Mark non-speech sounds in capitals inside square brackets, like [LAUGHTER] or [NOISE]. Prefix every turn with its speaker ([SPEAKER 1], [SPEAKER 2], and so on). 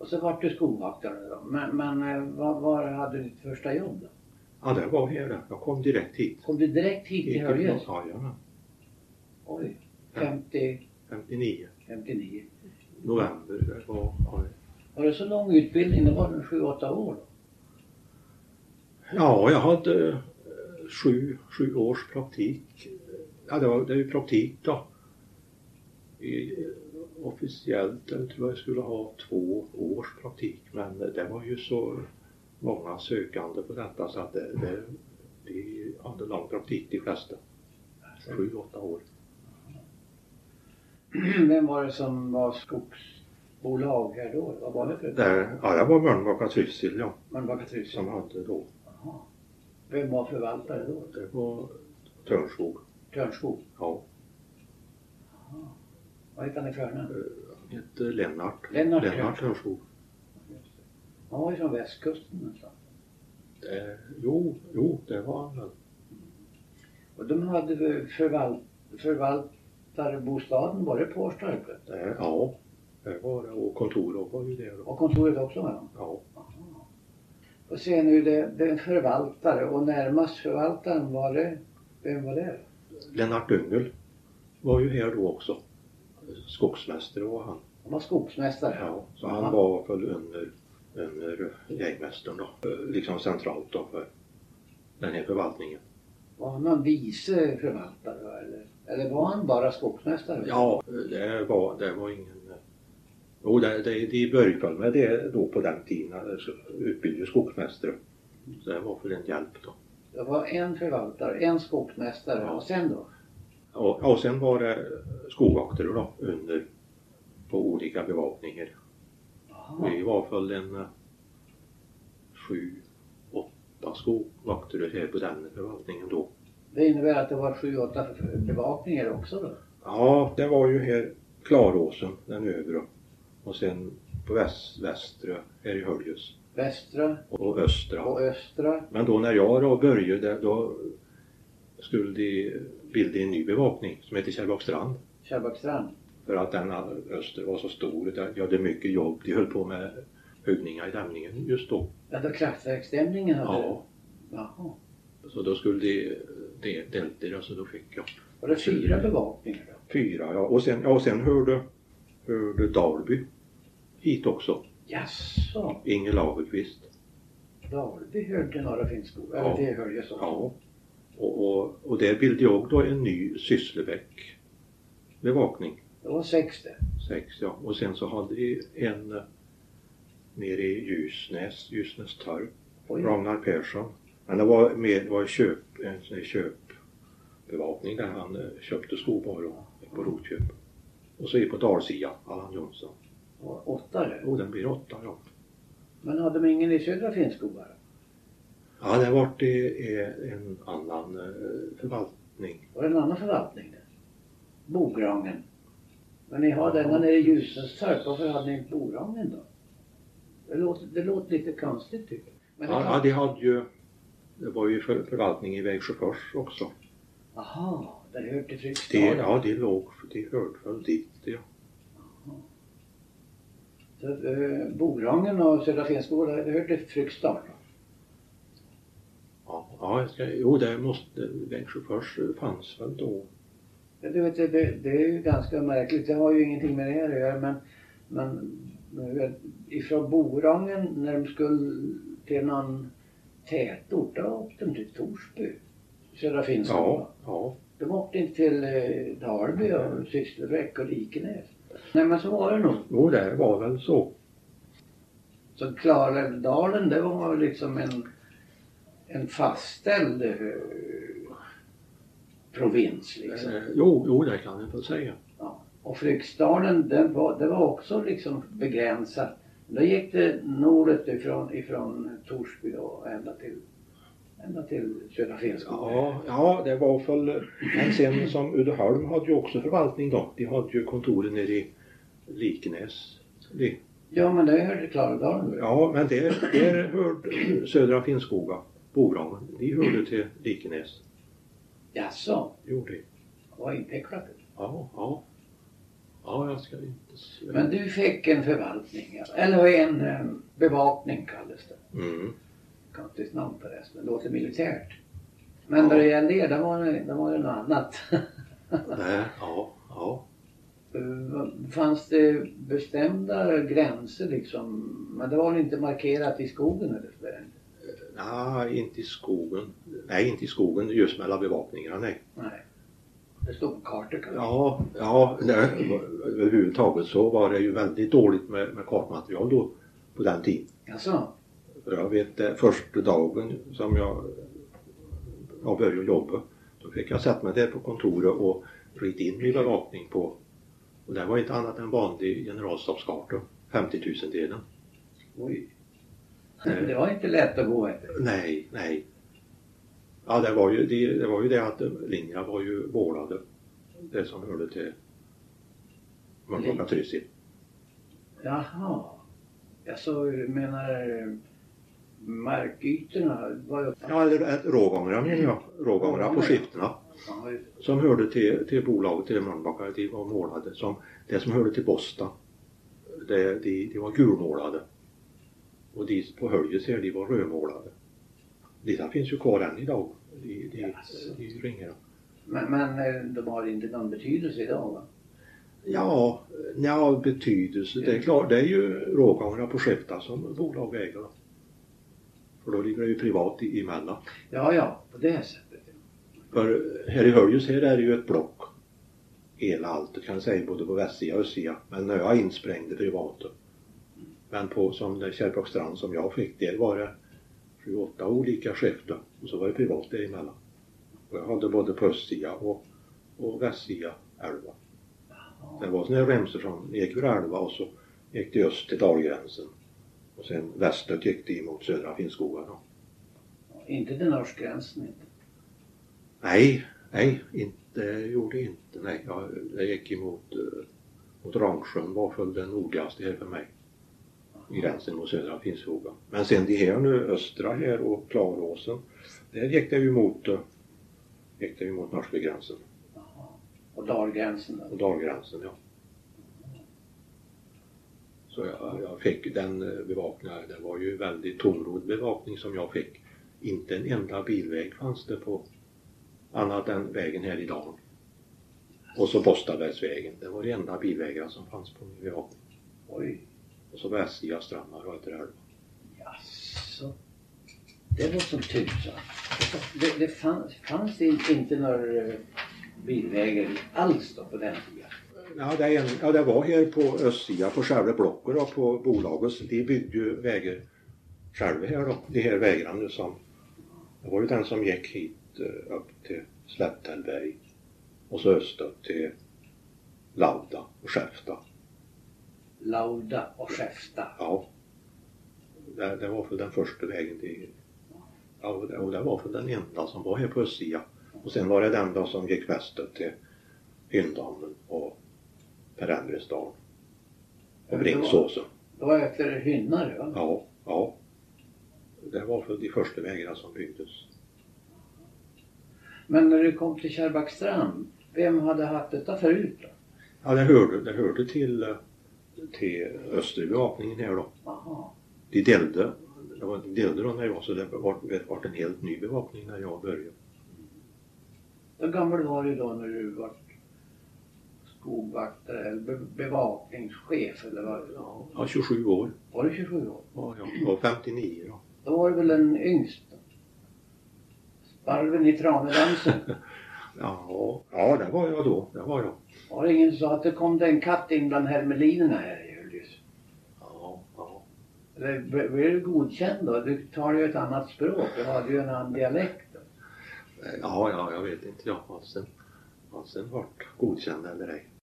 [SPEAKER 1] så vart du skolvaktare då. Men, men eh, var, var hade du ditt första jobb då?
[SPEAKER 2] Ja, det var här. Jag kom direkt hit.
[SPEAKER 1] Kom du direkt hit till Höljes?
[SPEAKER 2] Höljes?
[SPEAKER 1] Oj, 50,
[SPEAKER 2] 59.
[SPEAKER 1] 59.
[SPEAKER 2] November. Det var, ja,
[SPEAKER 1] Var det så lång utbildning? Det var den 7-8 år då?
[SPEAKER 2] Ja, jag hade eh, sju, sju års praktik. Ja, det var, det är ju praktik då. I, eh, officiellt eh, tror jag jag skulle ha två års praktik men eh, det var ju så många sökande på detta så att det, det, vi hade lång praktik de flesta. Sju, åtta år.
[SPEAKER 1] Vem var det som var skogsbolag här då? Vad var det för
[SPEAKER 2] Där, ja, det var Mölnbacka Trysil ja,
[SPEAKER 1] Man var katrys.
[SPEAKER 2] som hade då.
[SPEAKER 1] Jaha. Vem var förvaltare då?
[SPEAKER 2] Det var Törnskog.
[SPEAKER 1] Törnskog?
[SPEAKER 2] Ja,
[SPEAKER 1] Vad hette han i förnamn?
[SPEAKER 2] han hette eh, Lennart.
[SPEAKER 1] Lennart
[SPEAKER 2] Lennart Törnskog.
[SPEAKER 1] Han var ju från västkusten någonstans.
[SPEAKER 2] Eh, jo, jo, det var han väl.
[SPEAKER 1] Och de hade väl förvalt, förvaltarbostaden, var det Pårstorpet?
[SPEAKER 2] Eh, ja, det var det. Och kontoret var ju det då.
[SPEAKER 1] Och kontoret också med dem?
[SPEAKER 2] Ja,
[SPEAKER 1] Och se nu, det, det är en förvaltare och närmast förvaltaren var det, vem var det?
[SPEAKER 2] Lennart Dungel var ju här då också. Skogsmästare var han.
[SPEAKER 1] Han var skogsmästare.
[SPEAKER 2] Ja, så
[SPEAKER 1] Aha.
[SPEAKER 2] han var väl under, under jägmästaren då. Eh, Liksom centralt då för den här förvaltningen.
[SPEAKER 1] Var han någon vice förvaltare då, eller? Eller var han bara skogsmästare?
[SPEAKER 2] Ja, eh, det var, det var ingen... eh, Jo, det, det, de började väl med det då på den tiden. eh, så- Utbildade skogsmästare. Så det var för en hjälp då.
[SPEAKER 1] Det var en förvaltare, en skogsmästare
[SPEAKER 2] Ja.
[SPEAKER 1] och sen då?
[SPEAKER 2] Och, och sen var det skogvakter då under på olika bevakningar.
[SPEAKER 1] Aha.
[SPEAKER 2] Vi var väl en eh, sju, åtta skogvakter här på den förvaltningen då.
[SPEAKER 1] Det innebär att det var sju, åtta för- bevakningar också då?
[SPEAKER 2] Ja, det var ju här Klaråsen, den övre. Och sen på väst, västra här i Höljes
[SPEAKER 1] Västra
[SPEAKER 2] och östra.
[SPEAKER 1] och östra.
[SPEAKER 2] Men då när jag då började då skulle de bilda en ny bevakning som heter Kärrbäckstrand.
[SPEAKER 1] Kärrbäckstrand.
[SPEAKER 2] För att den öster var så stor. Det- Jag hade mycket jobb. De höll på med huggningar i dämningen just då.
[SPEAKER 1] Ja, då kraftverksstämningen hade...
[SPEAKER 2] Ja.
[SPEAKER 1] Jaha.
[SPEAKER 2] Så då skulle de, de delta det, så då fick jag
[SPEAKER 1] Var det fyra bevakningar då?
[SPEAKER 2] fyra. Ja. Och sen, ja, och sen hörde, hörde Dalby hit också.
[SPEAKER 1] Jaså?
[SPEAKER 2] Inger Lagerqvist.
[SPEAKER 1] Dalby hörde till Norra Finnskoga?
[SPEAKER 2] Ja.
[SPEAKER 1] Eller det hörde jag så.
[SPEAKER 2] Ja. Och, och, och där bildade jag då en ny Sysslebäck bevakning.
[SPEAKER 1] Det var sex det.
[SPEAKER 2] Sex, ja. Och sen så hade vi en eh, nere i Ljusnäs, Ljusnäs torp.
[SPEAKER 1] Oj.
[SPEAKER 2] Ragnar Persson. Men det var, mer, det var köp, en sån här köpbevakning där han eh, köpte skovaror på rotköp. Och så är det på dalsia, Allan Jonsson.
[SPEAKER 1] Det var åtta det.
[SPEAKER 2] Jo, den blir åtta ja.
[SPEAKER 1] Men hade de ingen i Södra Finnskoga då?
[SPEAKER 2] Ja, det vart eh, en annan eh, förvaltning.
[SPEAKER 1] Var det en annan förvaltning det? Bograngen. Men ni har
[SPEAKER 2] Ja.
[SPEAKER 1] denna nere i Ljusenstorp. Varför hade ni inte Borangen då? Det låter, det låter lite konstigt tycker jag. Men det
[SPEAKER 2] Ja,
[SPEAKER 1] kan...
[SPEAKER 2] ja, de hade ju, det var ju för, förvaltning i Vägsjöfors också.
[SPEAKER 1] Aha, det hör till Fryksdal.
[SPEAKER 2] De, ja, de låg, de hörde väl dit ja.
[SPEAKER 1] Så, eh, Borangen och Södra Finnskoga, det hör till Fryksdal.
[SPEAKER 2] Ja, ja jag ska, jo, det måste, Vägsjöfors eh, fanns väl då.
[SPEAKER 1] Ja, Du vet, det, det är ju ganska märkligt. Det har ju ingenting med det här att göra men, men du vet, ifrån Borangen när de skulle till någon tätort, då åkte de till Torsby. Södra Finland.
[SPEAKER 2] Ja, ja.
[SPEAKER 1] De åkte inte till eh, Dalby och Sysslebäck och Likenäs. Nej men så var det nog.
[SPEAKER 2] Jo, det var väl så.
[SPEAKER 1] Så Klarälvdalen det var liksom en, en fastställd eh, provins liksom.
[SPEAKER 2] Eh, Jo, jo, det kan jag väl säga.
[SPEAKER 1] Och Fryksdalen, den var, det var också liksom begränsat. Då gick det norrut ifrån, ifrån Torsby då, ända till, ända till Södra Finnskoga.
[SPEAKER 2] Ja, ja, det var väl... Men sen som Uddeholm hade ju också förvaltning då. De hade ju kontoren nere i Likenäs. Det-
[SPEAKER 1] Ja, men det hörde Klarälvdalen väl?
[SPEAKER 2] Ja, men där, där hörde Södra Finnskoga, Borangen, de hörde till Likenäs.
[SPEAKER 1] Jaså,
[SPEAKER 2] Gjorde de.
[SPEAKER 1] var intecklat?
[SPEAKER 2] Ja, ja. Ja, Ja, jag ska inte svär.
[SPEAKER 1] Men du fick en förvaltning, ja. eller en eh, bevakning kallas det.
[SPEAKER 2] Mm.
[SPEAKER 1] Konstigt namn förresten, låter militärt. Men när det gällde er, då var det, då var det något annat.
[SPEAKER 2] Nej, ja, ja.
[SPEAKER 1] Eh, Fanns det bestämda gränser liksom? Men det var väl inte markerat i skogen eller sådär?
[SPEAKER 2] Nej, inte i skogen. Nej, inte i skogen just mellan bevakningarna. Nej.
[SPEAKER 1] Nej. Det stod på kartor kanske?
[SPEAKER 2] Ja, ja nej, överhuvudtaget så var det ju väldigt dåligt med, med kartmaterial då på den tiden.
[SPEAKER 1] Jaså?
[SPEAKER 2] För Jag vet det, första dagen som jag, jag började jobba, då fick jag sätta mig där på kontoret och rita in min bevakning på, och det var inte annat än vanlig generalstabskarta, 50 000-delen.
[SPEAKER 1] Oj. [LAUGHS]
[SPEAKER 2] Nej.
[SPEAKER 1] Det var inte lätt att gå efter.
[SPEAKER 2] Nej, nej. Ja, det var ju det, det, var ju det att linjerna var ju vårdade, det som hörde till Mölnbacka Trysil.
[SPEAKER 1] Jaha. Jaså, du menar eh, markytorna? Var ju...
[SPEAKER 2] Ja, eller rågångarna menar jag, rågångarna på
[SPEAKER 1] Rågångarna.
[SPEAKER 2] skiftena.
[SPEAKER 1] Ja, just-
[SPEAKER 2] som hörde till, till bolaget, till Mölnbacka, de var målade. Som, det som hörde till Bosta, det, de, de var gulmålade. Och de på Höljes här, de var rödmålade. De där finns ju kvar än idag, de, de,
[SPEAKER 1] Jaså.
[SPEAKER 2] de ringarna.
[SPEAKER 1] Men, men eh, de har inte någon betydelse idag va?
[SPEAKER 2] Ja, ja, betydelse, det är klart, det är ju rågångarna på Skifta som bolag äger. då. För då ligger det ju privat i- emellan.
[SPEAKER 1] Ja, ja, på det sättet. ja.
[SPEAKER 2] För här i Höljes här är det ju ett block. Hela allt, det kan jag säga, både på västsida och östsida. Men när jag insprängde privat. då. Men på som det Kärrbäcksstrand som jag fick, där var det sju, åtta olika skiften. Och så var det privat däremellan. Och jag hade både på östsida och, och västsida älva.
[SPEAKER 1] Jaha.
[SPEAKER 2] Det var såna här remsor som gick ur älva och så gick det öst till dalgränsen. Och sen västerut gick det mot södra Finnskogarna.
[SPEAKER 1] Inte till norsk gränsen inte.
[SPEAKER 2] Nej, nej, inte, gjorde inte. Nej, jag, jag gick emot eh, mot Ramsjön var väl den nordligaste här för mig. I gränsen mot södra Finnskoga. Men sen det här nu, östra här och Klaråsen. Där gick det ju mot, eh, gick det ju mot norska gränsen
[SPEAKER 1] Jaha. Och dalgränsen då?
[SPEAKER 2] och dalgränsen. Ja. Så jag, jag fick den eh, bevakningen. Det var ju väldigt tungrodd bevakning som jag fick. Inte en enda bilväg fanns det på annat än vägen här i dalen. Och så Bostabergsvägen. Det var de enda bilvägarna som fanns på min bevakning.
[SPEAKER 1] Oj,
[SPEAKER 2] Och så västsida strandar och efter älva.
[SPEAKER 1] jaså. Det var som tusan. Det, det fanns, fanns det inte några eh, bilvägar alls då på den tiden?
[SPEAKER 2] Ja det, är en, ja, det var här på östsidan, på själva blocket då, på bolagets. De byggde ju vägar själva här då, de här vägarna nu som... Det var ju den som gick hit eh, upp till Slättälvberg och så österut till Lauda och Skellefteå.
[SPEAKER 1] Lauda och Skellefteå.
[SPEAKER 2] Ja. Det, det var för den första vägen till... Ja, och det, och det var för den enda som var här på östsidan. Och sen var det den då som gick västerut till Hyndhamnen och Perendresdalen och Bringsåsen.
[SPEAKER 1] Det var efter Hynnare va?
[SPEAKER 2] Ja, ja. Det var för de första vägarna som byggdes.
[SPEAKER 1] Men när du kom till Kärrbackstrand, vem hade haft detta förut då?
[SPEAKER 2] Ja, det hörde, det hörde till, eh, till österbevakningen här då.
[SPEAKER 1] Jaha.
[SPEAKER 2] De delade, det var de delade då när jag var så det var, det var en helt ny bevakning när jag började.
[SPEAKER 1] Hur gammal var du då när du var skogvaktare eller be- bevakningschef eller vad? Ja.
[SPEAKER 2] Ja, 27 år
[SPEAKER 1] Var du 27 år?
[SPEAKER 2] var jag. Och 59 då.
[SPEAKER 1] Då var du väl en yngst? då? Sparven i tranedansen.
[SPEAKER 2] Ja, ja det var jag då. Det var jag.
[SPEAKER 1] Var det ingen som sa att det kom det en katt in bland hermelinerna här i Höljes?
[SPEAKER 2] Ja, ja.
[SPEAKER 1] Eller b- blev du godkänd då? Du talade ju ett annat språk. Du hade ju en annan dialekt. då.
[SPEAKER 2] Ja, ja, jag vet inte. Ja, vad sen, vad sen vart godkänd eller ej.